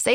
Say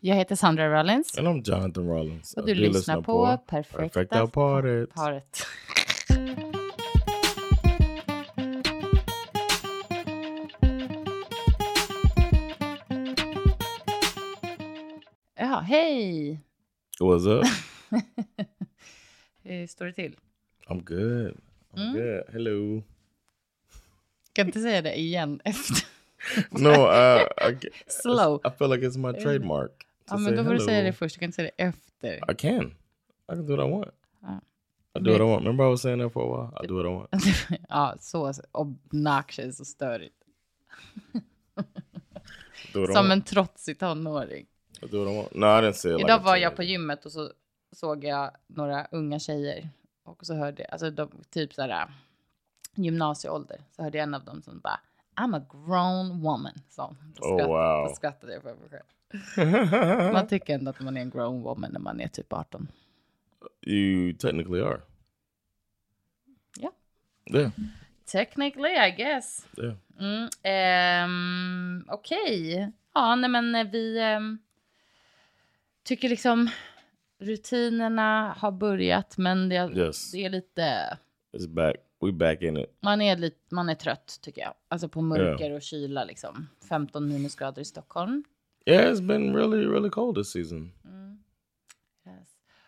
Jag heter Sandra Rollins And I'm Jonathan Rollins. och du, lyssnar, på Perfekta, Perfekta paret. paret. Ja, hej! What's up? Hur står det till? I'm good. I'm good. Hello. Kan inte säga det igen efter. No, uh, I, g- Slow. I feel like it's my trademark. to Ja, say men då får du hello. säga det först. Du kan inte säga det efter. I can. I can do what I want. Ja. I do what I want. Remember I was saying that for a while? I do what I want. Ja, så obnoxious och störigt. Do what I Som want. en trotsig tonåring. I do what I want. No, I didn't say it like Idag a var jag på teenager. gymmet och så såg jag några unga tjejer. Och så hörde jag, alltså de, typ så här gymnasieålder. Så hörde jag en av dem som bara, I'm a grown woman. Så, då, Oh, wow. då skrattade jag för mig själv. Man tycker ändå att man är en grown woman när man är typ 18. You technically are. Ja. Yeah, Technically I guess. yeah. Mm, ehm, Okej. Ja, nej men eh, vi ehm, tycker liksom rutinerna har börjat men det, Yes. det är lite... It's back. We back in it. Man är, lite, man är trött tycker jag. Alltså på mörker och kyla liksom. 15 minusgrader i Stockholm. Yeah, it's been really, really cold this season.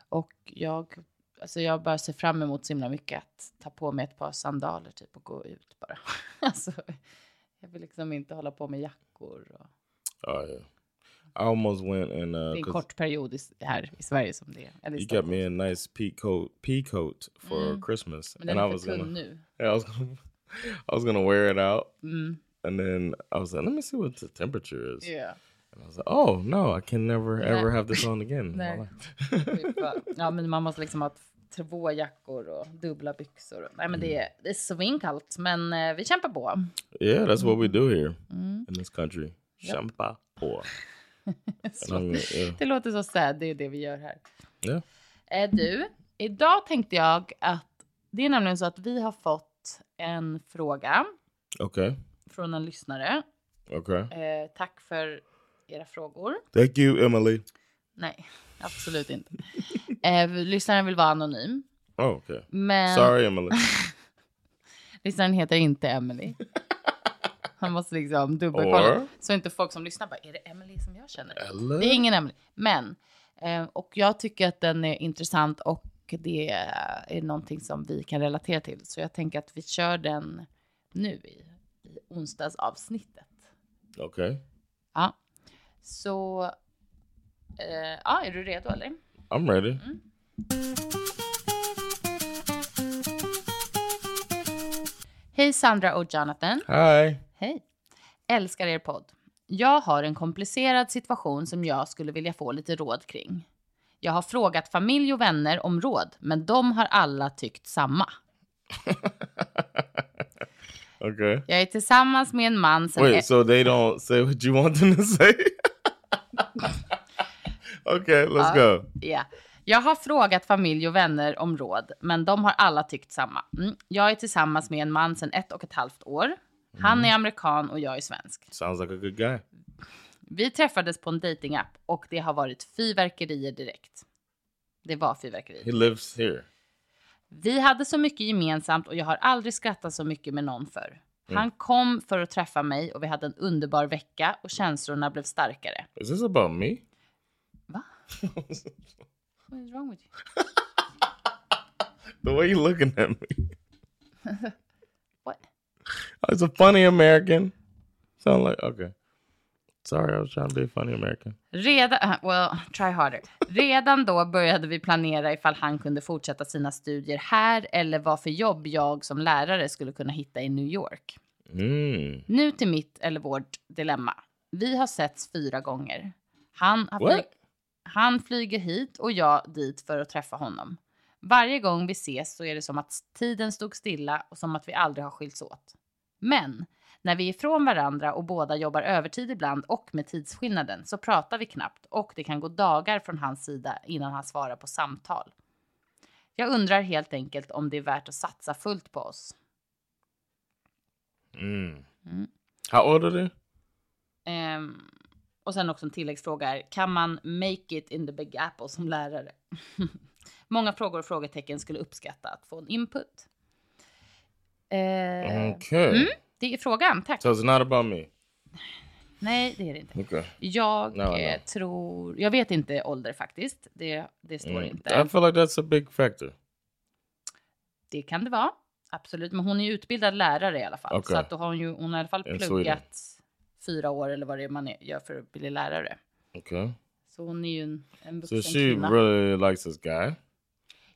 Och jag, alltså jag bara ser fram emot så himla mycket att ta på mig ett par sandaler typ och gå ut bara. alltså, jag vill liksom inte hålla på med jackor. Och... Oh, yeah. I almost went and... Uh, Det är en 'cause- kort period i, här i Sverige som det är. Eller i You got Stockholm. me a nice pea coat, pea coat for Christmas, Men den I är was för tunn gonna, nu. yeah, I was gonna, I was gonna wear it out, and then I was like, let me see what the temperature is. Ja. And I was like, oh no, I can never ever have this on again. in my No. life." Typ, va? ja, men man måste liksom ha t- två jackor och dubbla byxor. Och, nej, men det, är, det är svinkallt, men eh, vi kämpar på. yeah, that's what we do here in this country. Champa pour. And I'm like, yeah, Det låter så sad, det är det vi gör här. yeah, Eh, du, idag tänkte jag att det är nämligen så att vi har fått en fråga okay, från en lyssnare. okay. Eh, tack för era frågor. Thank you, Emily. Nej, absolut inte. Eh, lyssnaren vill vara anonym, Oh, okay. men Sorry, Emily. lyssnaren heter inte Emily. Han måste liksom dubbelkolla. Or- Så inte folk som lyssnar bara, är det Emily som jag känner? Eller? Det är ingen Emily. Men, eh, och jag tycker att den är intressant och det är någonting som vi kan relatera till. Så jag tänker att vi kör den nu i, i onsdagsavsnittet. Okay, Ja. Så, eh, ja, är du redo eller? I'm ready. Hej Sandra och Jonathan. Hi. Hej. Älskar er podd. Jag har en komplicerad situation som jag skulle vilja få lite råd kring. Jag har frågat familj och vänner om råd, men de har alla tyckt samma. Okay. Jag är tillsammans med en man sen... Wait, so they don't say what you want them to say? okay, let's go. Ja. Jag har frågat familj och vänner om råd, men de har alla tyckt samma. Mm. Jag är tillsammans med en man sedan ett och ett halvt år. Han är amerikan och jag är svensk. Sounds like a good guy. Vi träffades på en datingapp och det har varit fyrverkerier direkt. Det var fyrverkerier. He lives here. Vi hade så mycket gemensamt och jag har aldrig skrattat så mycket med någon förr. Han kom för att träffa mig och vi hade en underbar vecka och känslorna blev starkare. Is this about me? Va? What is wrong with you? The way you looking at me. What? It's Oh, a funny American. Sound like okay. Sorry, I was trying to be a funny American. Redan, ah, well, try harder. Redan då började vi planera ifall han kunde fortsätta sina studier här eller vad för jobb jag som lärare skulle kunna hitta i New York. Mm. Nu till mitt eller vårt dilemma. Vi har setts fyra gånger. Han, har What? fly- han flyger hit och jag dit för att träffa honom. Varje gång vi ses så är det som att tiden stod stilla och som att vi aldrig har skilts åt. Men när vi är ifrån varandra och båda jobbar övertid ibland och med tidsskillnaden så pratar vi knappt och det kan gå dagar från hans sida innan han svarar på samtal. Jag undrar helt enkelt om det är värt att satsa fullt på oss. Mm. Mm. How old are they? Ehm, och sen också en tilläggsfråga är, kan man make it in the big apple som lärare? Många frågor och frågetecken skulle uppskatta att få en input. Ehm, Okay. Mm. Det är frågan, tack. So it's not about me. Nej, det är det inte. Okay. Jag Nej, nej. eh, tror, jag vet inte ålder faktiskt. Det, det står Mm. inte. I feel like that's a big factor. Det kan det vara. Absolut, men hon är ju utbildad lärare i alla fall. Okej. Så att då har hon ju, hon har i alla fall In Sweden. pluggat fyra år eller vad det är man är- gör för att bli lärare. Okay. Så hon är ju en, en So vuxen she kvinna. really likes this guy.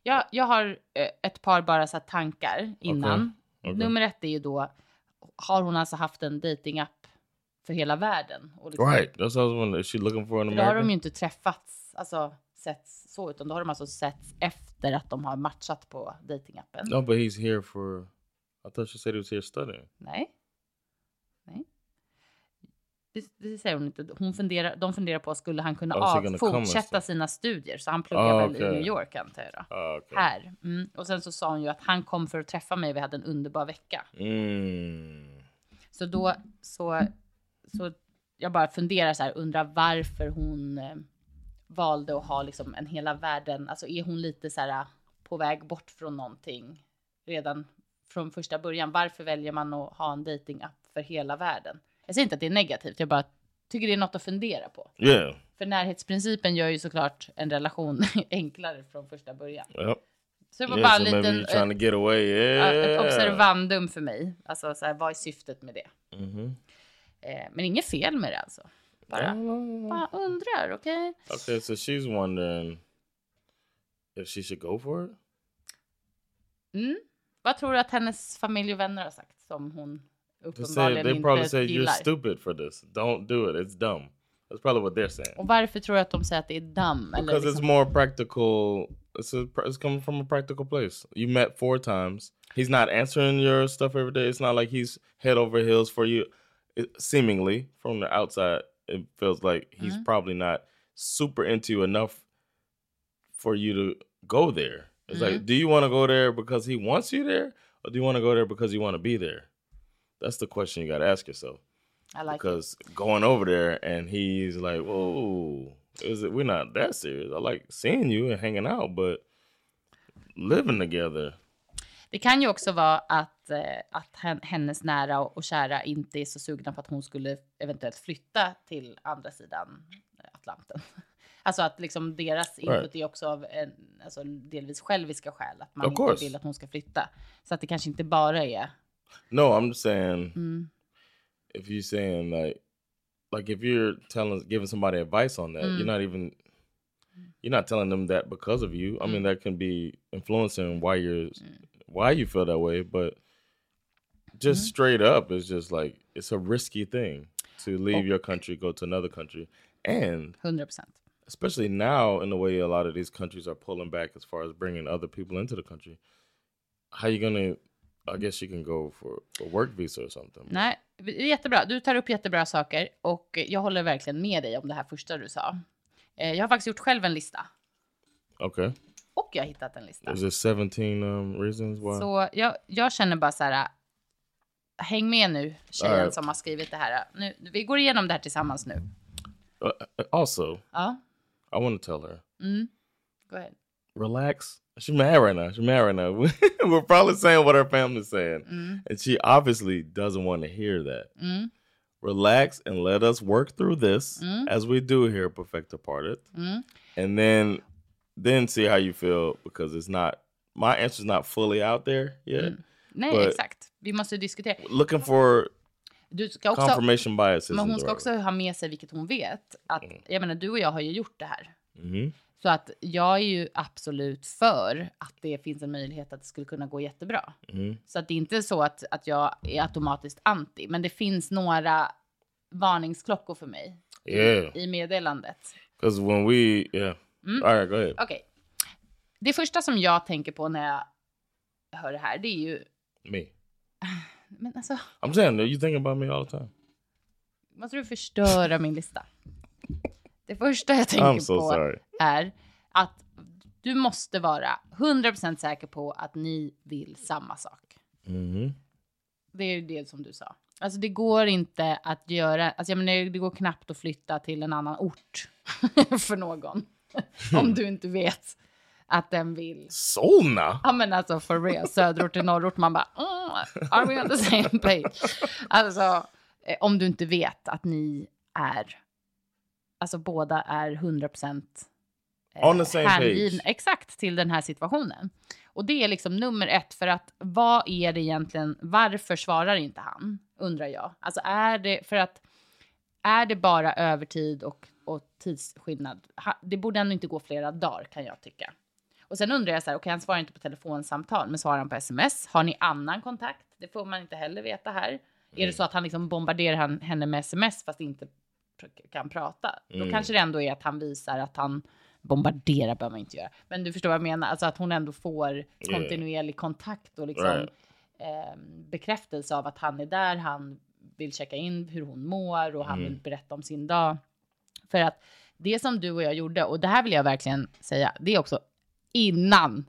Jag, jag har eh, ett par bara så här tankar innan. Okej. Nummer ett är ju då, har hon alltså haft en datingapp för hela världen? Och liksom, Right. That's what I was wondering. Is she looking for an För då har de ju American? inte träffats, alltså setts så, utan då har de alltså setts efter att de har matchat på datingappen. No, but he's here for. I thought she said he was here studying. Nej. Nej. Det, det säger hon inte. Hon funderar, de funderar på, skulle han kunna Oh, so you're av, gonna come and fortsätta stuff. sina studier? Så han pluggar Ah, väl i okej. New York antar jag då. Ah, okay. Här. Mm. Och sen så sa hon ju att han kom för att träffa mig, vi hade en underbar vecka. Mm. Så då så, så jag bara funderar så här, undrar varför hon eh, valde att ha liksom en hela världen. Alltså är hon lite så här eh, på väg bort från någonting redan från första början? Varför väljer man att ha en datingapp för hela världen? Jag säger inte att det är negativt, jag bara tycker det är något att fundera på. Yeah. För närhetsprincipen gör ju såklart en relation enklare från första början. Yep. Så det var bara Yeah, en so maybe liten, you're trying to get away. eh, Yeah. ett observandum för mig. Alltså så här, vad är syftet med det? Mhm. Eh, men inget fel med det alltså. Bara, bara undrar, okej? Okay, so she's wondering if she should go for it. Mm. Vad tror du att hennes familj och vänner har sagt som hon They, say, uppenbarligen they probably inte say you're gillar? stupid for this. Don't do it. It's dumb. That's probably what they're saying. Och varför tror du att de säger att det är damm? Eller Because it's liksom, more practical. It's a, it's coming from a practical place. You met four times. He's not answering your stuff every day. It's not like he's head over heels for you. It, seemingly from the outside, it feels like he's probably not super into you enough for you to go there. It's like, do you want to go there because he wants you there, or do you want to go there because you want to be there? That's the question you got to ask yourself I like it. because going over there and he's like, "Whoa, is it? We're not that serious. I like seeing you and hanging out, but living together." Det kan ju också vara att, eh, att hen, hennes nära och, och kära inte är så sugna på att hon skulle eventuellt flytta till andra sidan eh, Atlanten. Alltså att liksom deras input Right. är också av en, alltså delvis själviska skäl. Att man Of inte course. vill att hon ska flytta. Så att det kanske inte bara är... No, I'm just saying Mm, if you're saying like, like if you're telling giving somebody advice on that, you're not even you're not telling them that because of you. I mean, that can be influencing why you're why you feel that way, but just straight up, it's just like it's a risky thing to leave your country, go to another country, and 100 procent. especially now in the way a lot of these countries are pulling back as far as bringing other people into the country how you gonna i guess you can go for a work visa or something Nej, det är jättebra. Du tar upp jättebra saker och jag håller verkligen med dig om det här första du sa. Eh, Jag har faktiskt gjort själv en lista okay och jag har hittat en lista. is there 17 um reasons why Så jag, jag känner bara så här. Häng med nu tjejen Alright. som har skrivit det här. Nu, vi går igenom det här tillsammans nu. Uh, uh, also Ja, i want to tell her go ahead. relax she's mad right now she's mad right now we're probably saying what her family's saying and she obviously doesn't want to hear that Mm, relax and let us work through this Mm. as we do here at Perfecta Parted. mm. and then then see how you feel because it's not my answer's not fully out there yet. Mm. Nej, But- exakt. Vi måste diskutera. Looking for Du ska också, confirmation bias. men hon ska också ha med sig, vilket hon vet, att Mm. jag menar, du och jag har ju gjort det här. hmm Så att jag är ju absolut för att det finns en möjlighet att det skulle kunna gå jättebra. Mhm. Så att det är inte så att, att jag är automatiskt anti, men det finns några varningsklockor för mig Yeah, i meddelandet. because when we yeah, Mm. all right, go ahead. Okej. Det första som jag tänker på när jag hör det här, det är ju... Me, Men alltså, I'm saying that you think about me all the time. måste du förstöra min lista? Det första jag tänker I'm so på sorry. är att du måste vara 100% säker på att ni vill samma sak. Mm-hmm. Det är ju det som du sa. Alltså det går inte att göra, alltså jag menar, det går knappt att flytta till en annan ort för någon. om du inte vet att den vill. Solna. Ja men alltså for real, söderort till norrort, man bara mm, are we on the same page? Alltså eh, om du inte vet att ni är, alltså båda är 100% eh, On the same page. exakt till den här situationen. Och det är liksom nummer ett för att vad är det egentligen, varför svarar inte han? Undrar jag. Alltså är det för att, är det bara övertid och, och tidsskillnad? Ha, det borde ändå inte gå flera dagar kan jag tycka. Och sen undrar jag så här, okej han svarar inte på telefonsamtal, men svarar han på sms? Har ni annan kontakt? Det får man inte heller veta här. Är det så att han liksom bombarderar han, henne med sms fast inte pr- kan prata? Då Mm. kanske det ändå är att han visar att han bombardera behöver man inte göra. Men du förstår vad jag menar, alltså att hon ändå får kontinuerlig kontakt och liksom Right. ehm, bekräftelse av att han är där, han vill checka in hur hon mår och han Mm. vill berätta om sin dag. För att det som du och jag gjorde, och det här vill jag verkligen säga, det är också innan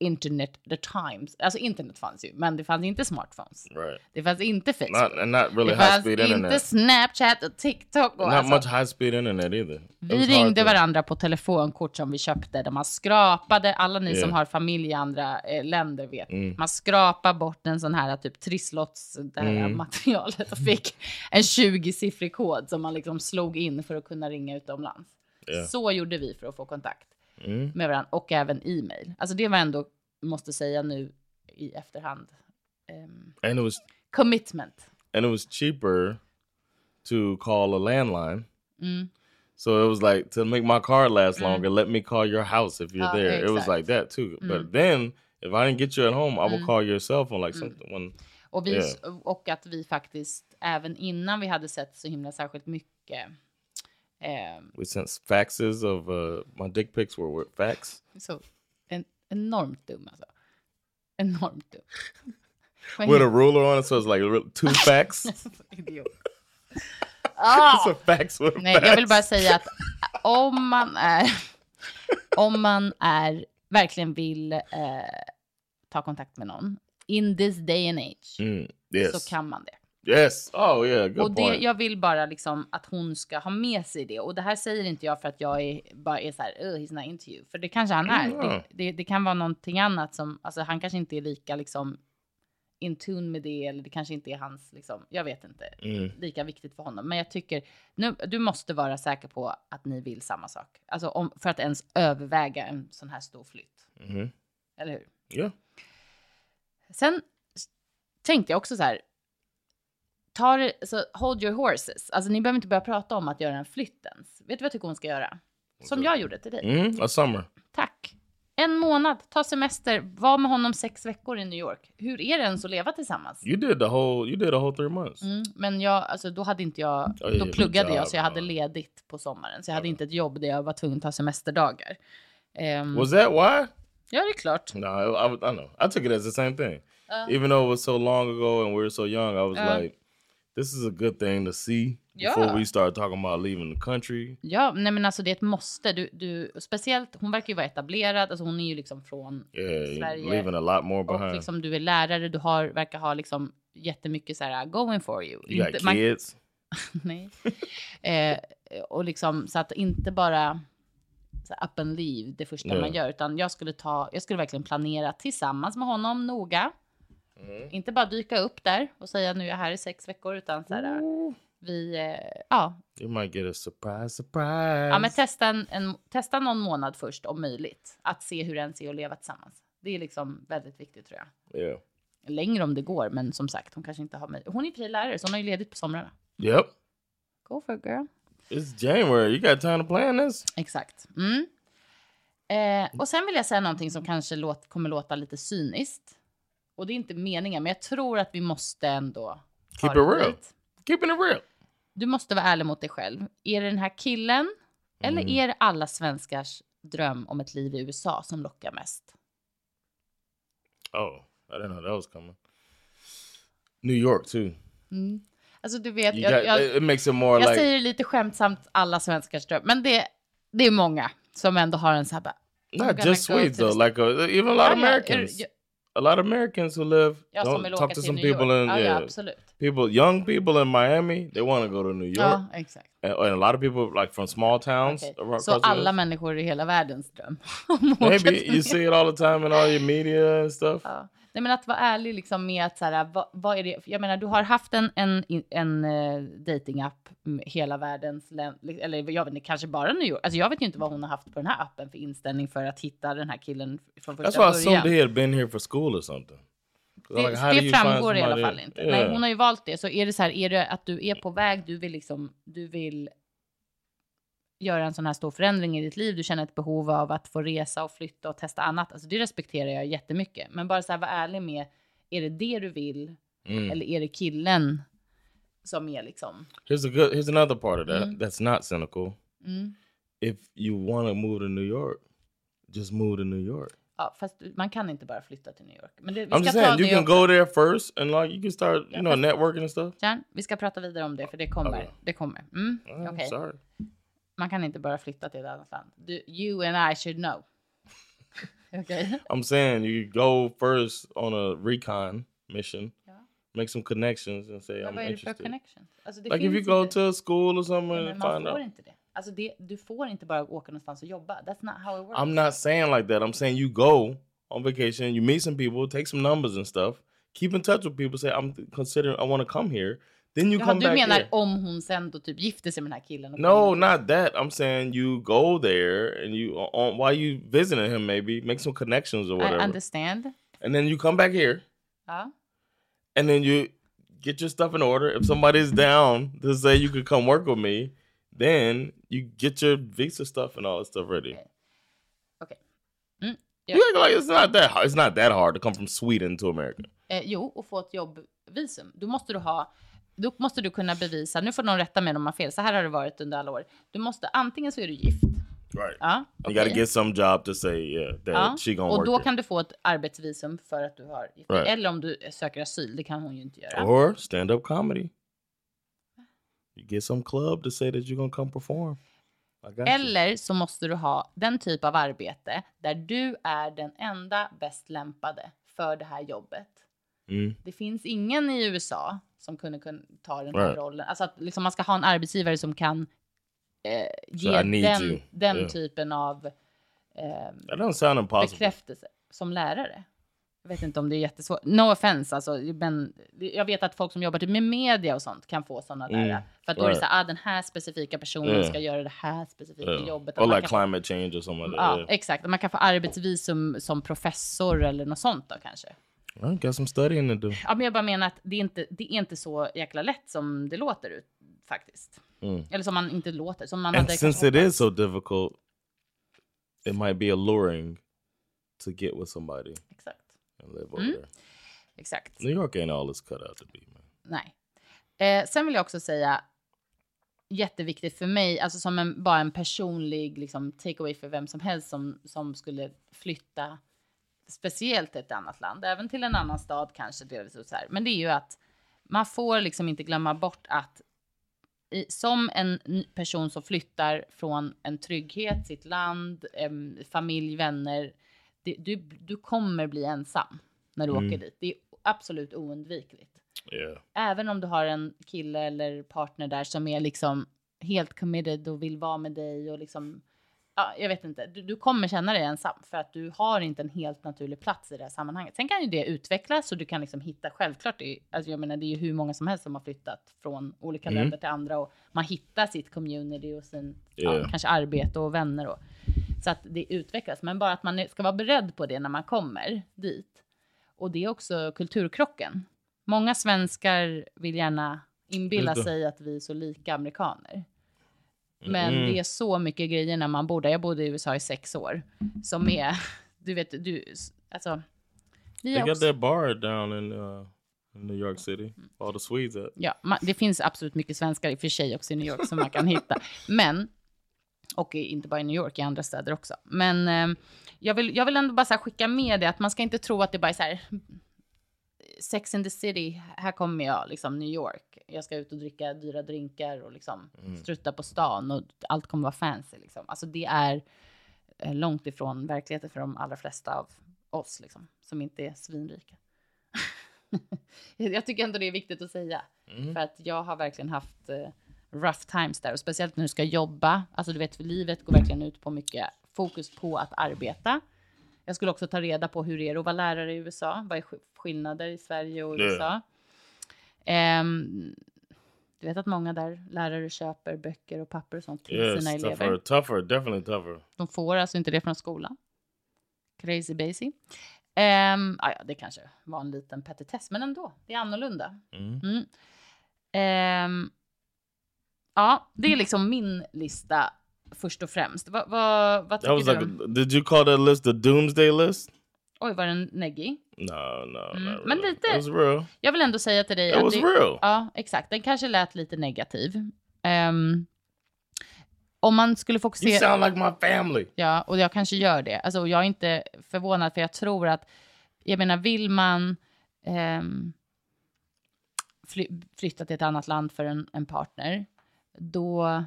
internet, the times, alltså internet fanns ju, men det fanns inte smartphones. Right. Det fanns inte Facebook. Not and not really det high fanns speed inte internet. Snapchat och TikTok och Not alltså, much high speed internet either. It vi was hard ringde to- varandra på telefonkort som vi köpte där man skrapade, alla ni som Yeah. har familj i andra eh, länder vet, Mm. man skrapar bort en sån här typ trisslots, det här Mm. materialet och fick en 20-siffrig kod som man liksom slog in för att kunna ringa utomlands. Yeah. Så gjorde vi för att få kontakt Mm. med varandra och även e-mail. Alltså det var ändå, måste säga nu i efterhand, ehm, And it was commitment. and it was cheaper to call a landline. Mm. So it was like to make my car last longer, let me call your house if you're Ah, there. It was exact. like that too. Mm. But then if I didn't get you at home, I would Mm. call your cell phone like something when Och, vi, Yeah. och att vi faktiskt, även innan vi hade sett så himla särskilt mycket, eh, we sent faxes of uh my dick pics were with fax. så en, enormt dum alltså. Enormt dum. Men- With a ruler on it, so it's like re- two fax. it's Idiot. a fax with a Ah! Nej, jag vill fax. bara säga att äh, om man är, om man är, verkligen vill eh, ta kontakt med någon, in this day and age, Mm, yes. så kan man det. Yes. Oh yeah. Good Och det, point. jag vill bara liksom att hon ska ha med sig det. Och det här säger inte jag för att jag är, bara är så här, "Ugh, he's not into you. För det kanske han är. Mm. Det, det, det kan vara någonting annat som, alltså han kanske inte är lika liksom in tune med det. Eller det kanske inte är hans, liksom, jag vet inte, Mm. lika viktigt för honom. Men jag tycker, nu, du måste vara säker på att ni vill samma sak. Alltså om, för att ens överväga en sån här stor flytt. Mhm. Eller hur? Yeah. Sen s- tänkte jag också så här. Ta det, så hold your horses. Alltså ni behöver inte börja prata om att göra en flytt ens. Vet du vad jag tycker hon ska göra? Som jag gjorde till dig. Mhm. A summer. Tack. En månad, ta semester, var med honom sex veckor i New York. Hur är det ens att leva tillsammans? You did the whole. You did a whole three months. Mm, men jag, alltså då hade inte jag, Ja, det då är pluggade jobb, jag så jag hade ja. ledigt på sommaren. Så jag hade inte ett jobb där jag var tvungen att ta semesterdagar. Ehm, Was that why? ja, det är klart. No, I, I, was- I know. I took it as the same thing. Uh. Even though it was so long ago and we were so young, I was Uh. like, "This is a good thing to see before Yeah. we start talking about leaving the country." Ja, nej men alltså det är ett måste. Du, du, speciellt, hon verkar ju vara etablerad, alltså hon är ju liksom från Yeah, you- Sverige. leaving a lot more och behind. liksom du är lärare, du har, verkar ha liksom jättemycket så här going for you. you got Inte- man- kids. nej. Eh, och liksom så att inte bara så här, up and leave det första Nej. man gör, utan jag skulle ta, jag skulle verkligen planera tillsammans med honom noga. Inte bara dyka upp där och säga nu är jag här i sex veckor, utan så här, Ooh, vi, eh, ja, you might get a surprise, surprise. Ja, men testa, en, en, testa någon månad först om möjligt. Att se hur det ens är att leva tillsammans. Det är liksom väldigt viktigt tror jag. Yeah. Längre om det går, men som sagt, hon kanske inte har mig. Hon är i och för sig lärare, så hon har ju ledigt på somrarna. Yep. Go for it girl. It's January. You got time to plan this? Exakt. Mm. Eh, och sen vill jag säga någonting som kanske låt, kommer låta lite cyniskt. Och det är inte meningen, men jag tror att vi måste ändå... ta Keep det it real. dit. Keeping it real. Du måste vara ärlig mot dig själv. Är det den här killen eller Mm. är det alla svenskars dröm om ett liv i USA som lockar mest? Oh, I didn't know that was coming. New York too. Alltså du vet, You jag, got, jag, it- it makes it jag more like säger lite skämtsamt alla svenskars dröm, men det, det är många som ändå har en så här bara, not gonna just go Swedes to though. the- Like uh even a lot of Ja, ja, är- Americans. ja, a lot of Americans who live ja, som don't vill åka talk to till some New York. people in Ja, ja, yeah, absolut. people young people in Miami. They want to go to New York, Ja, exakt. and, and a lot of people like from small towns. Okej. around Så across the alla US. människor i hela världens dröm. om att åka Maybe till you New Oh, see it all the time in all your media and stuff. Ja. Nej, men att vara ärlig liksom med att så här, vad, vad är det? Jag menar, du har haft en, en, en eh, datingapp med hela världens län- eller jag vet inte, kanske bara New York. Alltså, jag vet ju inte vad hon har haft på den här appen för inställning för att hitta den här killen från That's första why I assumed början. he had been here for school or something. Det, Like, how do det you find framgår i alla somebody- fall inte. Yeah. Nej, hon har ju valt det. Så är det så här, är det att du är på väg, du vill liksom, du vill göra en sån här stor förändring i ditt liv, du känner ett behov av att få resa och flytta och testa annat. Alltså det respekterar jag jättemycket. Men bara så här, var ärlig med, är det det du vill? Mm. Eller är det killen som är liksom... Here's a good. Here's another part of that Mm. that's not cynical. Mm. If you want to move to New York, just move to New York. Ja, fast man kan inte bara flytta till New York. Men det, vi I'm ska just ta saying you det can och, go there first, and like you can start, you Yeah, know, networking and stuff. Jan, vi ska prata vidare om det, för det kommer. Okej. Det kommer. Mm. Oh, okej. Sorry. Man kan inte bara flytta till ett annat land. Du, you and I should know. Okej? I'm saying you go first on a recon mission, Ja. make some connections, and say Men I'm vad är det för interested. connection? Alltså, det Like if finns you go inte. to a school Ja, or somewhere men and man find får out. inte det. Alltså det, du får inte bara åka någonstans och jobba. That's not how it works. I'm not saying like that. I'm saying you go on vacation, you meet some people, take some numbers and stuff, keep in touch with people. Say I'm considering I want to come here. Then you Jaha, come du back. menar here. om hon sen då typ gifter sig med den här killen? och No, kommer- not that. I'm saying you go there and you on while you visiting him, maybe make some connections or I whatever, understand. and then you come back here, Ja. and then you get your stuff in order. If somebody's down to say you could come work with me, then you get your visa stuff and all that stuff ready. Okej. Mm, ja. You act like it's not that hard. it's not that hard to come from Sweden to America. Eh, jo, och få ett jobbvisum. Då måste du ha, då måste du kunna bevisa, nu får någon rätta mig om jag har fel, så här har det varit under alla år. Du måste, antingen så är du gift, Right. ja, You got to okej. get some job to say yeah that ja, she gonna och work. då here. kan du få ett arbetsvisum för att du har gift dig. Right. Eller om du söker asyl, det kan hon ju inte göra. Or stand up comedy. You get some club to say that you're gonna come perform. I got you. Eller så måste du ha den typ av arbete där du är den enda bäst lämpade för det här jobbet. Mm. det finns ingen i USA som kunde kunna ta den här Right. rollen. Alltså att liksom man ska ha en arbetsgivare som kan eh, I ge need den, you. den Yeah. typen av eh, That doesn't sound impossible. bekräftelse som lärare. Jag vet inte om det är jättesvårt. No offense, alltså, men jag vet att folk som jobbar typ med media och sånt kan få sådana där. Mm. För att då är det Mm. Right. så här, ah, den här specifika personen Yeah. ska göra det här specifika Yeah. jobbet. Ah. Att Or man like kan- climate change or something like ja, that. exakt. Att Man kan få arbetsvisum som professor eller något sånt då kanske. yeah. I got some studying to do. Ja, men jag bara menar att det är inte det är inte så jäkla lätt som det låter ut faktiskt. Mm. Eller som man inte låter som man And hade since kanske it is hoppats. so difficult, it might be alluring to get with somebody Exakt. and live over Mm. there. Exakt. New York ain't all it's cut out to be, man. Nej. Eh, sen vill jag också säga jätteviktigt för mig, alltså som en, bara en personlig liksom, takeaway för vem som helst som, som skulle flytta speciellt till ett annat land, även till en annan stad kanske delvis och så här. Men det är ju att man får liksom inte glömma bort att i, som en ny person som flyttar från en trygghet, sitt land, em, familj, vänner. Det, du, du kommer bli ensam när du Mm. åker dit. Det är absolut oundvikligt Yeah. även om du har en kille eller partner där som är liksom helt committed och vill vara med dig och liksom, ja, jag vet inte, du, du kommer känna dig ensam för att du har inte en helt naturlig plats i det här sammanhanget. Sen kan ju det utvecklas och du kan liksom hitta, självklart, det, alltså jag menar det är ju hur många som helst som har flyttat från olika Mm. länder till andra och man hittar sitt community och sin, Yeah. ja, kanske arbete och vänner och så att det utvecklas. Men bara att man ska vara beredd på det när man kommer dit. Och det är också kulturkrocken. Många svenskar vill gärna inbilla Just det. sig att vi är så lika amerikaner. Men Mm. det är så mycket grejer när man bor där. Jag bodde i USA i sex år som är, du vet, du, alltså. Vi They är got också, that bar down in, uh, in New York City. All the Swedes at. ja, man, det finns absolut mycket svenskar i och för sig också i New York som man kan hitta. Men, och i- inte bara i New York, i andra städer också. Men eh, jag, vill, jag vill ändå bara så här skicka med det att man ska inte tro att det bara är så här. Sex in the city, här kommer jag, liksom New York. Jag ska ut och dricka dyra drinkar och liksom strutta på stan och allt kommer vara fancy liksom. Alltså det är eh, långt ifrån verkligheten för de allra flesta av oss liksom, som inte är svinrika. jag tycker ändå det är viktigt att säga. Mm. För att jag har verkligen haft eh, rough times där. Och speciellt när du ska jobba. Alltså du vet, för livet går verkligen ut på mycket fokus på att arbeta. Jag skulle också ta reda på hur det är att vara lärare i USA. Vad är sk- skillnader i Sverige och Ja. USA? Ehm, du vet att många där lärare köper böcker och papper och sånt till Yes, sina elever. tougher, tougher, definitely tougher. De får alltså inte det från skolan. Crazy basic. Um, ah, ja, det kanske var en liten petitess, men ändå. Det är annorlunda. Mm. Mm. Ehm, ja, det är liksom min lista först och främst. Va, va, vad That tycker was du? like, om- a- did you call that list the Doomsday list? Oj, var den neggig? No, no, Mm, not men really. lite- It was real. Jag vill ändå säga till dig It was det, real. Ja, exakt. Den kanske lät lite negativ. Ehm, om man skulle You fokusera... sound like my family. Ja, och jag kanske gör det. Alltså, och jag är inte förvånad, för jag tror att, jag menar, vill man ehm, fly, flytta till ett annat land för en, en partner, då,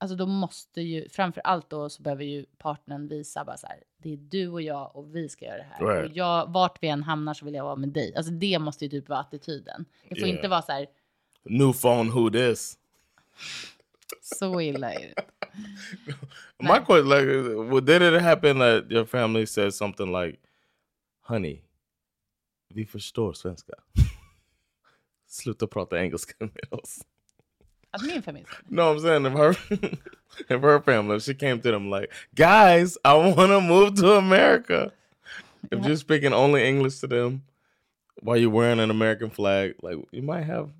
alltså, då måste ju, framför allt då så behöver ju partnern visa bara så här, det är du och jag och vi ska göra det här. Right. Och jag, vart vi än hamnar så vill jag vara med dig. Alltså det måste ju typ vara attityden. Det får Yeah. inte vara så här, New phone, who this? så illa är det. My question, like, is, well, did it happen that your family said something like, "Honey, vi förstår svenska. Sluta prata engelska med oss." Att min familj ska- No, I'm saying if her, if her family, if she came to them like, "Guys, I want to move to America." If you're speaking only English to them while you're wearing an American flag, like you might have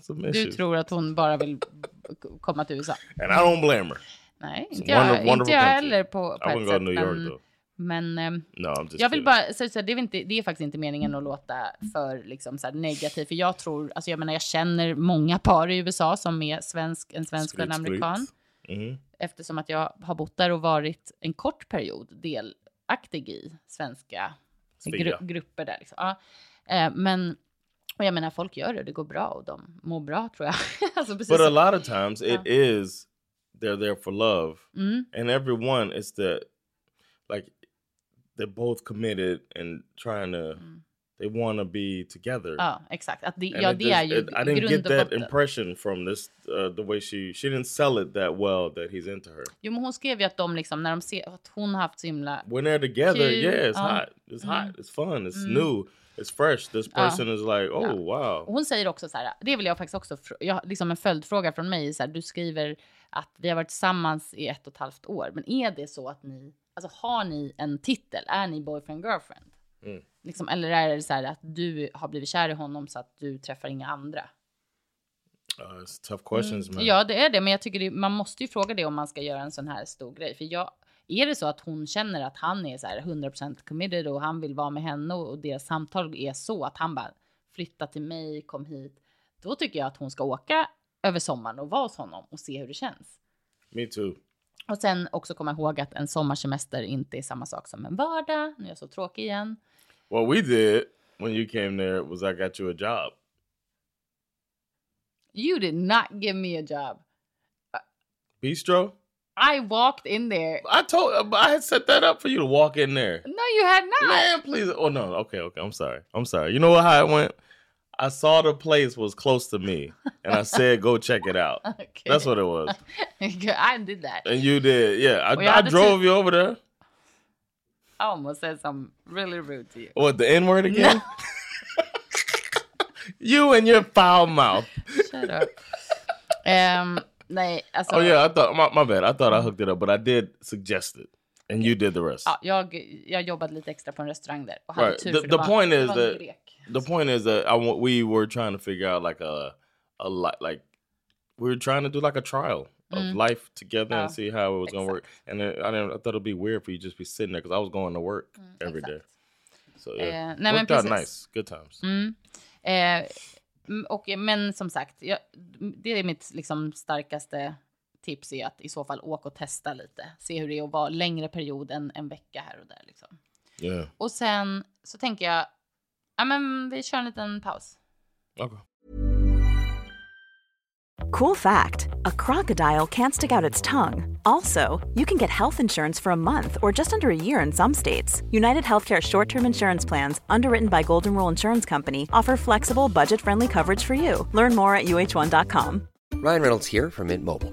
some Du issues, tror att hon bara vill k- komma till USA. and I don't blame her. Nej, It's inte a wonder- jag, inte wonderful jag country. heller på, på I wouldn't ett go sätt. to New York men though. men ehm, No, I'm just. jag vill kidding. bara så, så, det, är väl inte, det är faktiskt inte meningen att låta för liksom, så här, negativ. För jag tror, alltså, jag menar, jag känner många par i USA som är svensk, en svensk och en Skryt, skryt. amerikan. Mhm. Eftersom att jag har bott där och varit en kort period delaktig i svenska Stiga. gru- grupper där. Liksom. Ja. Eh, men och jag menar, folk gör det, det går bra och de mår bra tror jag. alltså, precis But a som- lot of times it is they're there for love, mm, and everyone is the like they're both committed and trying to Mm. Oh, they want to be together. ja, exakt. Att det, And ja, it det just- är ju it- I didn't grund get och that botten. impression from this uh, the way she she didn't sell it that well that he's into her. Jo, men hon skrev ju att de liksom, när de ser att hon har haft så himla... When they're together, Cute, yeah, it's um, hot, it's hot, it's fun, it's Mm. Uh, new, it's fresh. This Ja. person is like, oh Ja. Och wow, hon säger också så här, det vill jag faktiskt också, fr- jag, liksom en följdfråga från mig, är så här, du skriver att vi har varit tillsammans i ett och ett halvt år, men är det så att ni, alltså har ni en titel? Är ni boyfriend girlfriend? Mm. Liksom, eller är det så här att du har blivit kär i honom så att du träffar inga andra? uh, it's tough questions, man. Ja, det är det, men jag tycker det, man måste ju fråga det om man ska göra en sån här stor grej. För jag, är det så att hon känner att han är så här 100% committed och han vill vara med henne och, och deras samtal är så att han bara flytta till mig, kom hit. Då tycker jag att hon ska åka över sommaren och vara hos honom och se hur det känns. Me too. Och sen också komma ihåg att en sommarsemester inte är samma sak som en vardag. Nu är jag så tråkig igen. What we did when you came there was I got you a job. You did not give me a job. Bistro? I walked in there. I told uh, I had set that up for you to walk in there. No, you had not. Man, please. Oh no. Okay, okay. I'm sorry. I'm sorry. You know what how it went? I saw the place was close to me and I said go check it out. Okay. That's what it was. I did that. And you did. Yeah. Well, I, y'all I the drove you over there. I almost said something really rude to you. What, the N word again? you and your foul mouth. Shut up. Ehm, nej, alltså. Oh yeah, I thought my, my bad. I thought I hooked it up, but I did suggest it. and you did the rest. Ja, jag, jag jobbade lite extra på en restaurang där och hade Right. tur The- för the det var, point det is var en that- grek. The point is that I want we were trying to figure out like a a li like we were trying to do like a trial of Mm. life together Ja, and see how it was gonna work. And then I didn't I thought it'd be weird for you to just be sitting there because I was going to work Mm, every day. exakt. So yeah, Eh, nej, men worked out precis. nice, good times. Mm. Eh, m- och, men som sagt, jag, det är mitt liksom, starkaste tips är att i så fall åka och testa lite. Se hur det är att vara längre period än en vecka här och där. Liksom. Yeah. Och sen så tänker jag, ja men vi kör en liten paus. Okay. Cool fact a crocodile can't stick out its tongue. Also, you can get health insurance for a month or just under a year in some states. United Healthcare short term insurance plans, underwritten by Golden Rule Insurance Company, offer flexible, budget friendly coverage for you. Learn more at uh1.com. Ryan Reynolds here from Mint Mobile.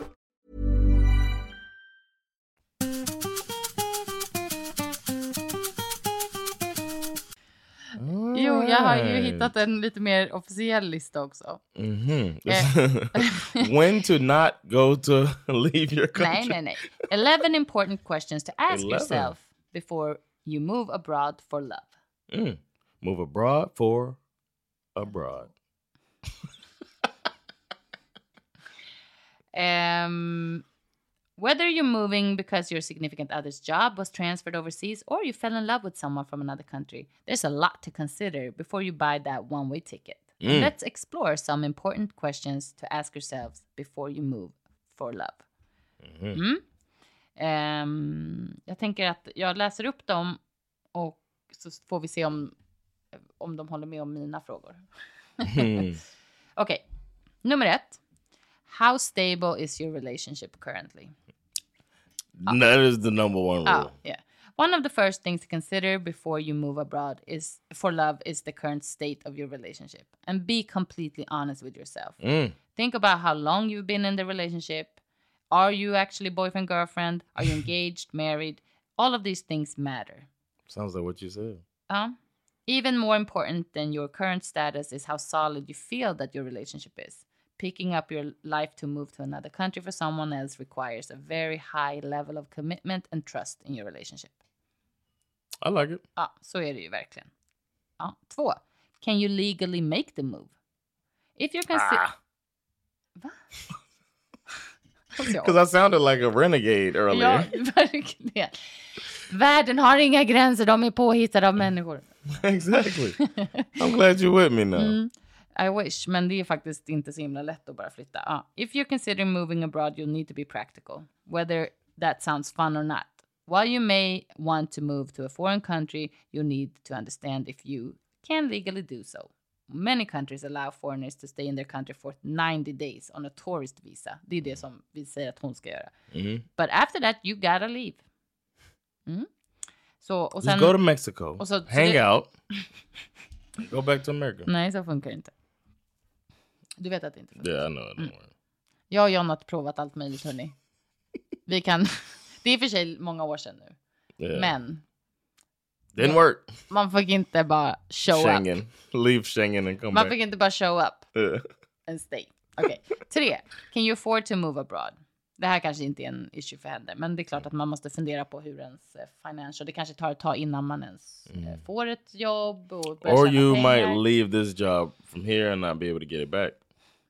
Jo, jag har ju hittat en lite mer officiell lista också. Mm-hmm. when to not go to leave your country? Nej, nej, nej. 11 important questions to ask 11. yourself before you move abroad for love. Mm. Move abroad for abroad. Um, whether you're moving because your significant other's job was transferred overseas or you fell in love with someone from another country, there's a lot to consider before you buy that one way ticket. Mm. Let's explore some important questions to ask yourselves before you move for love. Mm. Ehm, jag tänker att jag läser upp dem och så får vi se om, om de håller med om mina frågor. Hmm. Okej, nummer ett. How stable is your relationship currently? That is the number one Oh, rule. yeah. One of the first things to consider before you move abroad is for love is the current state of your relationship and be completely honest with yourself. Mm. Think about how long you've been in the relationship. Are you actually boyfriend girlfriend? Are you engaged, married? All of these things matter. Sounds like what you said. Um, even more important than your current status is how solid you feel that your relationship is. Picking up your life to move to another country for someone else requires a very high level of commitment and trust in your relationship. I like it. Ja, så är det ju verkligen. Ja, två. Can you legally make the move? If you're considering... Ah. Va? Oh. Because I sounded like a renegade Ja, earlier. verkligen. Världen har inga gränser, de är påhittade av människor. exactly. I'm glad you're with me now. I wish, men det är faktiskt inte så himla lätt att bara flytta. Ja. If you're considering moving abroad you'll need to be practical, whether that sounds fun or not. While you may want to move to a foreign country, you'll need to understand if you can legally do so. Many countries allow foreigners to stay in their country for 90 days on a tourist visa. Det Mm. är det som vi säger att hon ska göra. But after that you gotta leave. Mm. Så, och sen, Just go to Mexico. och så- så hang det- out. go back to America. Nej, så funkar det inte. Du vet att det inte funkar. Yeah, I know. Don't worry. Jag och John har provat allt möjligt hörni. Vi kan, det är i och för sig många år sedan nu. Yeah. Men Didn't work. man fick inte bara show up. Schengen. Leave Schengen and come Man back. fick inte bara show up Yeah. and stay. Okej, tre. Can you afford to move abroad? Det här kanske inte är en issue för henne, men det är klart att man måste fundera på hur ens eh, financial, det kanske tar ett tag innan man ens eh, får ett jobb och börjar Mm. Or tjäna you might pengar. leave this job from here and not be able to get it back.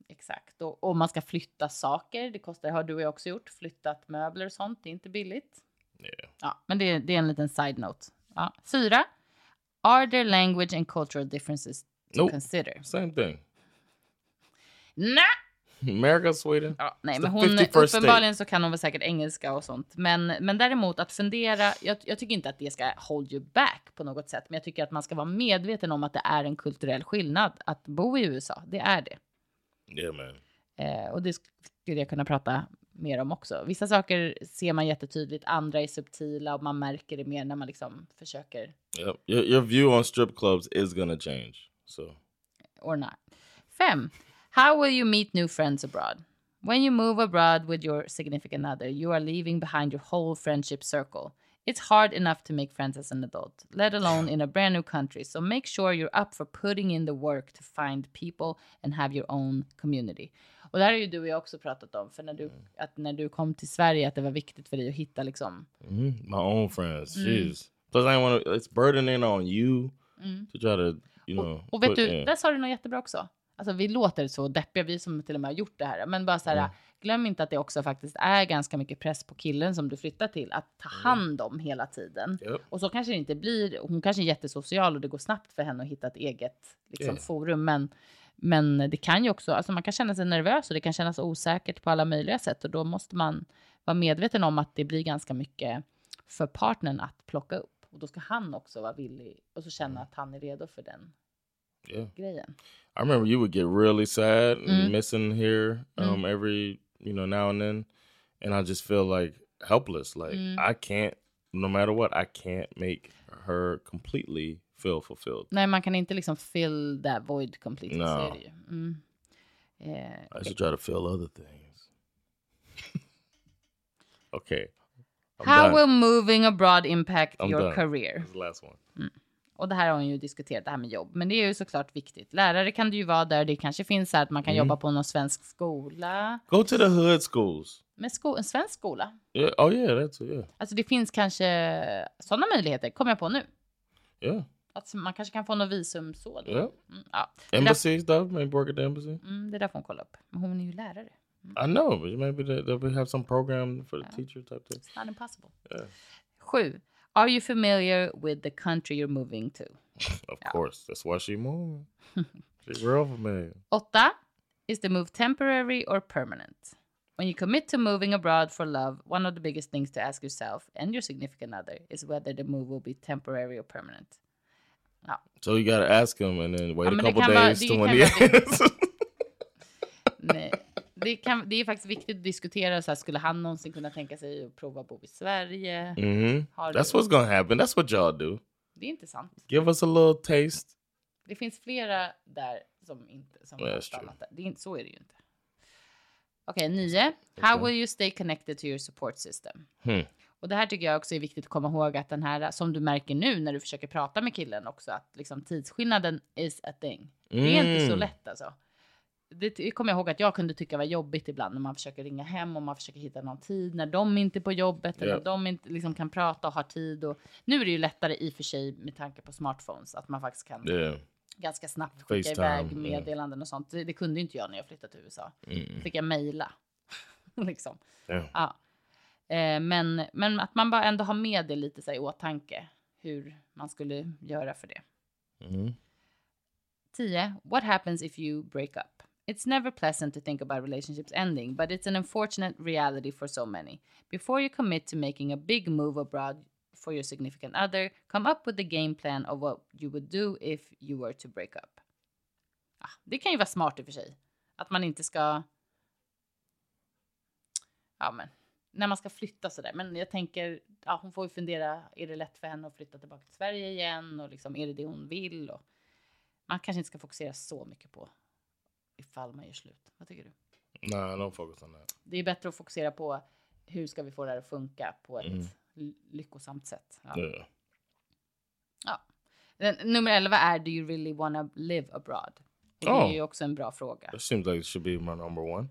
Exakt, och, och man ska flytta saker. Det kostar, har du och jag också gjort, flyttat möbler och sånt. Det är inte billigt. Ja, men det, det är en liten side note. Ja. Fyra. Are there language and cultural differences to Nope. consider? Same thing. Nej! America, Sweden. Ja, nej, It's men the hon, 51st state. uppenbarligen så kan hon väl säkert engelska och sånt. Men, men däremot att fundera, jag, jag tycker inte att det ska hold you back på något sätt. Men jag tycker att man ska vara medveten om att det är en kulturell skillnad att bo i USA. Det är det. Yeah, man. Eh, och det skulle jag kunna prata med dem också. Vissa saker ser man jättetydligt, andra är subtila och man märker det mer när man liksom försöker Yep. Your, your view on strip clubs is gonna change. So or not. Fem. How will you meet new friends abroad? When you move abroad with your significant other, you are leaving behind your whole friendship circle. It's hard enough to make friends as an adult, let alone in a brand new country. So make sure you're up for putting in the work to find people and have your own community. Och det här har ju du och jag också pratat om, för när du, att när du kom till Sverige att det var viktigt för dig att hitta liksom mhm, my own friends, jeez. Plus, I want to. It's burdening on you to try to, you know. Och vet put du, in. där sa du något jättebra också. Alltså vi låter så deppiga, vi som till och med har gjort det här. Men bara så här, glöm inte att det också faktiskt är ganska mycket press på killen som du flyttar till att ta hand om hela tiden. Japp. Och så kanske det inte blir, hon kanske är jättesocial och det går snabbt för henne att hitta ett eget liksom, Ja. forum. Men, men det kan ju också, alltså man kan känna sig nervös och det kan kännas osäkert på alla möjliga sätt. Och då måste man vara medveten om att det blir ganska mycket för partnern att plocka upp. Och då ska han också vara villig och så känna att han är redo för den yeah. grejen. I remember you would get really sad Mm. and missing here um, every you know now and then, and I just feel like helpless. Like Mm. I can't, no matter what, I can't make her completely feel fulfilled. Nej, man kan inte liksom fill that void completely. No. Så är det ju. Mm. Eh, I should try to feel other things. okay. I'm how done. will moving abroad impact I'm your done. career? That's the last one. Och det här har hon ju diskuterat, det här med jobb. Men det är ju såklart viktigt. Lärare kan det ju vara där. Det kanske finns så här att man Mm. kan jobba på någon svensk skola. Go to the hood schools. Men sko en svensk skola? Yeah. Oh yeah, that's yeah, Alltså det finns kanske sådana möjligheter, kom jag på nu. yeah, Att man kanske kan få något visum så. då. yeah. Mm, ja. Det, är därför, Embassy stuff. Maybe work at the embassy. mm, det är därför hon kollar upp. Men hon är ju lärare. I know, but maybe they, they'll have some program for the teacher type thing. It's not impossible. Yeah. Sju. Are you familiar with the country you're moving to? Of course, that's why she moved. She's real familiar. Åtta. Is the move temporary or permanent? When you commit to moving abroad for love, one of the biggest things to ask yourself and your significant other is whether the move will be temporary or permanent. So you gotta ask him and then wait I mean, a they couple can buy- days they to can when he buy the- answers. Nej. Det, kan, det är faktiskt viktigt att diskutera, så här, skulle han någonsin kunna tänka sig att prova bo i Sverige? Mhm. Har That's du- what's gonna happen. That's what y'all do. Det är intressant. Give us a little taste. Det finns flera där som inte som Ja, har that's stannat true. där. Det är, inte- så är det ju inte. Okej, nio. How will you stay connected to your support system? Hmm. Och det här tycker jag också är viktigt att komma ihåg att den här som du märker nu när du försöker prata med killen också att liksom tidsskillnaden is a thing. Det är inte så Mm. lätt alltså. Det ty- kommer jag ihåg att jag kunde tycka var jobbigt ibland när man försöker ringa hem och man försöker hitta någon tid när de inte är på jobbet eller Ja. när de inte liksom kan prata och har tid. Och nu är det ju lättare i och för sig med tanke på smartphones att man faktiskt kan Yeah. ganska snabbt skicka Facetime, iväg ja. Mm. meddelanden och sånt. Det, det kunde ju inte jag när jag flyttade till USA. Fick jag mejla. liksom. Ja. Ja. Eh, men, men att man bara ändå har med det lite så här, i åtanke. Hur man skulle göra för det. Mhm. 10. What happens if you break up? It's never pleasant to think about relationships ending, but it's an unfortunate reality for so many. Before you commit to making a big move abroad for your significant other, come up with the game plan of what you would do if you were to break up. Ah, det kan ju vara smart i och för sig. Att man inte ska... Ja, men när man ska flytta sådär. Men jag tänker, ja, hon får ju fundera, är det lätt för henne att flytta tillbaka till Sverige igen? Och liksom, är det det hon vill? Och man kanske inte ska fokusera så mycket på ifall man gör slut. Vad tycker du? Nah, don't focus on that. Det är bättre att fokusera på hur ska vi få det här att funka på ett ly- lyckosamt sätt. Ja. Yeah. Ja. Den- Nummer 11 är Do you really wanna live abroad? Och det är Oh. ju också en bra fråga. That seems like it should be my number one.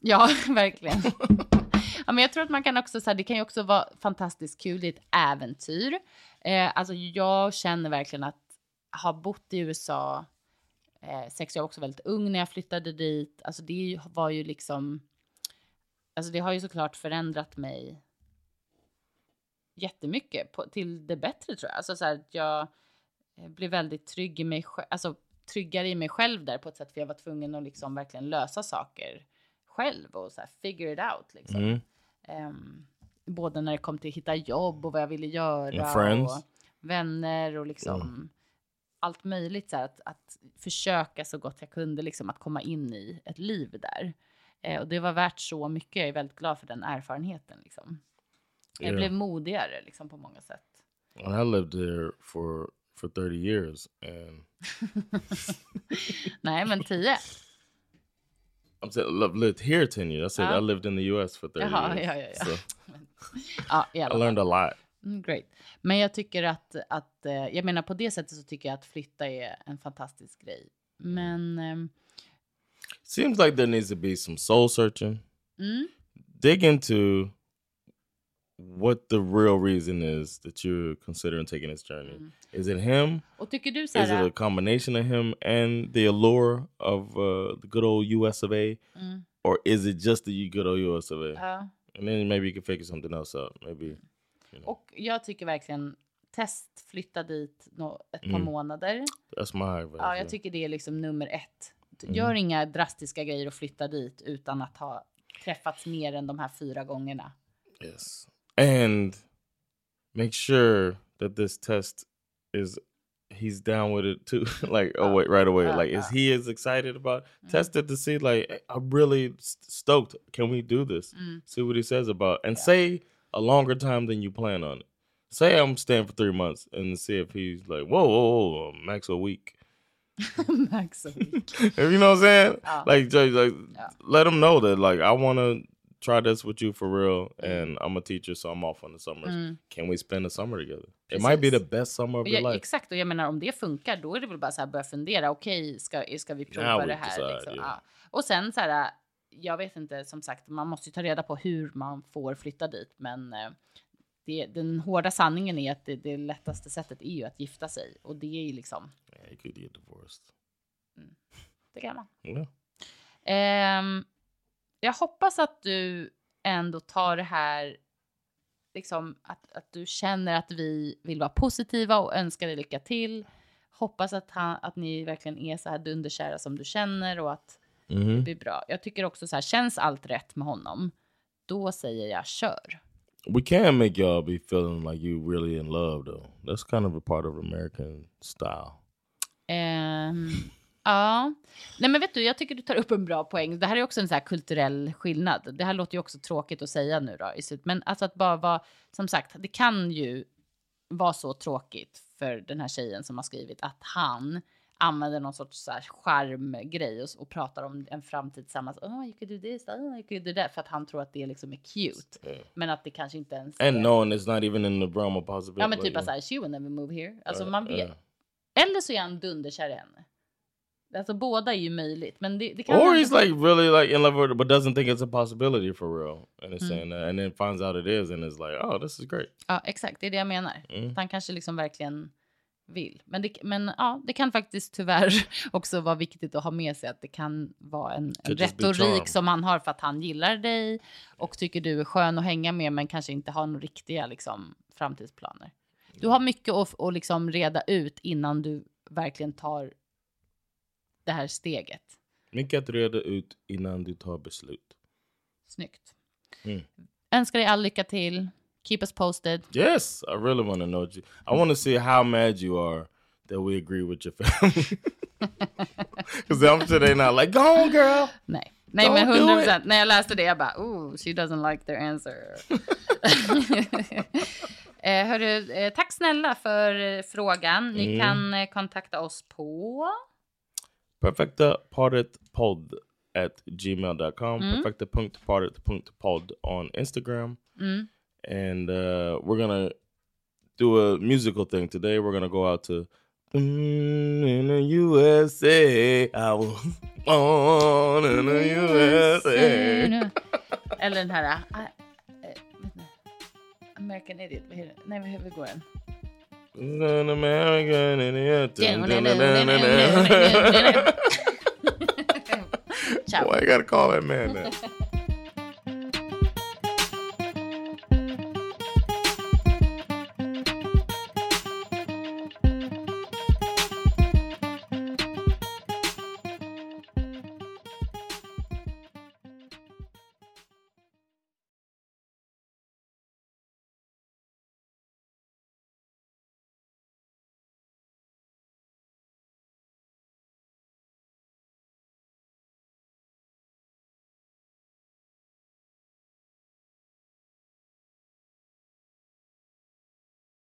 Ja, verkligen. Ja, men jag tror att man kan också, så här, det kan ju också vara fantastiskt kul, det är ett äventyr. Eh, alltså jag känner verkligen att ha bott i USA eh, sex, jag var också väldigt ung när jag flyttade dit. Alltså det är ju- var ju liksom, alltså det har ju såklart förändrat mig jättemycket på, till det bättre tror jag. Alltså så här, att jag eh, blev väldigt trygg i mig själv, alltså tryggare i mig själv där på ett sätt för jag var tvungen att liksom verkligen lösa saker själv och så här figure it out liksom. Mhm. Ehm, både när det kom till att hitta jobb och vad jag ville göra. And friends. Och vänner och liksom allt möjligt. Så här, att, att försöka så gott jag kunde liksom, att komma in i ett liv där. Eh, och det var värt så mycket. Jag är väldigt glad för den erfarenheten. Liksom. Jag Yeah. blev modigare liksom, på många sätt. And I lived there for for 30 years and Nej, men tio. I'm saying I've lived here 10 years. I said Ah. I lived in the US for 30 Jaha, years. ja, ja, ja. So Ja, i alla I fall. learned a lot. Mm, great. Men jag tycker att, att, eh, jag menar på det sättet så tycker jag att flytta är en fantastisk grej. Men ehm, Seems like there needs to be some soul searching. mm, Dig into what the real reason is that you're considering taking this journey. Is it him? och tycker du så Is it här, a combination of him and the allure of uh, the good old US of A? Mm. Or is it just the good old US of A? ja. and then maybe you can figure something else out. Maybe. och jag tycker verkligen test flytta dit nå ett par Mm. månader. That's my advice. Ja, yeah. jag tycker det Mm. är liksom nummer ett. Gör inga drastiska grejer och flytta dit utan att ha träffats mer än de här fyra gångerna. Yes. And make sure that this test is he's down with it too. like oh wait, right away. uh, like is uh. Mm. he as excited about test it to see like I'm really s- stoked. Can we do this? Mm. See what he says about and say a longer time than you plan on it. Say I'm staying for three months and see if he's like, whoa, whoa, whoa, max a week. Max och Vic. if you know what I'm saying? Yeah. Like, just, like Yeah. let them know that like I want to try this with you for real, and I'm a teacher, so I'm off on the summers. Can we spend the summer together? It might be the best summer of Och your jag, life. exakt, och jag menar om det funkar då är det väl bara så här börja fundera. Okej, ska, ska vi prova Now we det här? decide, liksom? yeah. ja. Och sen så här, jag vet inte, som sagt, man måste ju ta reda på hur man får flytta dit. Men eh, det, den hårda sanningen är att det, det lättaste sättet är ju att gifta sig. Och det är ju liksom, Yeah, you could get divorced. det kan man. Yeah. Ehm, jag hoppas att du ändå tar det här, liksom att, att du känner att vi vill vara positiva och önskar dig lycka till. Hoppas att, han, att ni verkligen är så här dunderkära som du känner och att det blir bra. Jag tycker också så här, känns allt rätt med honom, då säger jag kör. We can make y'all be feeling like you really in love though. That's kind of a part of American style. Ehm, ja, nej men vet du, jag tycker du tar upp en bra poäng. Det här är också en så här kulturell skillnad. Det här låter ju också tråkigt att säga nu då, i slut. men alltså att bara vara, som sagt, det kan ju vara så tråkigt för den här tjejen som har skrivit att han använder någon sorts så här charmgrej och, och pratar om en framtid tillsammans. Oh, you could do this, oh, you could do that. För att han tror att det liksom är cute. Men att det kanske inte ens And är... knowing it's not even in the realm of possibility. Ja men typ like, att så här, she will never move here. Alltså uh, man vet. uh. Eller så är han dunderkär i henne. Alltså båda är ju möjligt. Men det, det kan Or hända- he's like really like in love with her, but doesn't think it's a possibility for real, and is saying that, and then finds out it is, and is like, "Oh, this is great." Ja exakt, det är det jag menar. Att han kanske liksom verkligen vill. Men, det, men ja, det kan faktiskt tyvärr också vara viktigt att ha med sig att det kan vara en, en Could just be charm. retorik som han har för att han gillar dig och tycker du är skön att hänga med men kanske inte har några riktiga liksom, framtidsplaner. Du har mycket att, att liksom reda ut innan du verkligen tar det här steget. Mycket att reda ut innan du tar beslut. Snyggt. Mm. Önskar dig all lycka till. Keep us posted. Yes, I really want to know you. I want to see how mad you are that we agree with your family. Because I'm sure they're not like, "Go on, girl." Nej, Nej Don't men do 100 procent. När jag läste det, jag bara, oh, she doesn't like their answer. eh, hörru, eh, tack snälla för eh, frågan. Ni kan eh, kontakta oss på... Perfectapartetpod at gmail.com. Perfecta.partetpod on Instagram. And uh, we're going to do a musical thing today. We're going to go out to Mm, in the USA. I was born in the USA. Eller den här... ah, eh, vet ni, American Idiot, vad heter den? Nej, vad- hur går den? An American idiot. Dun, dun, dun, dun, dun, dun. Ciao. Why you got to call that man that?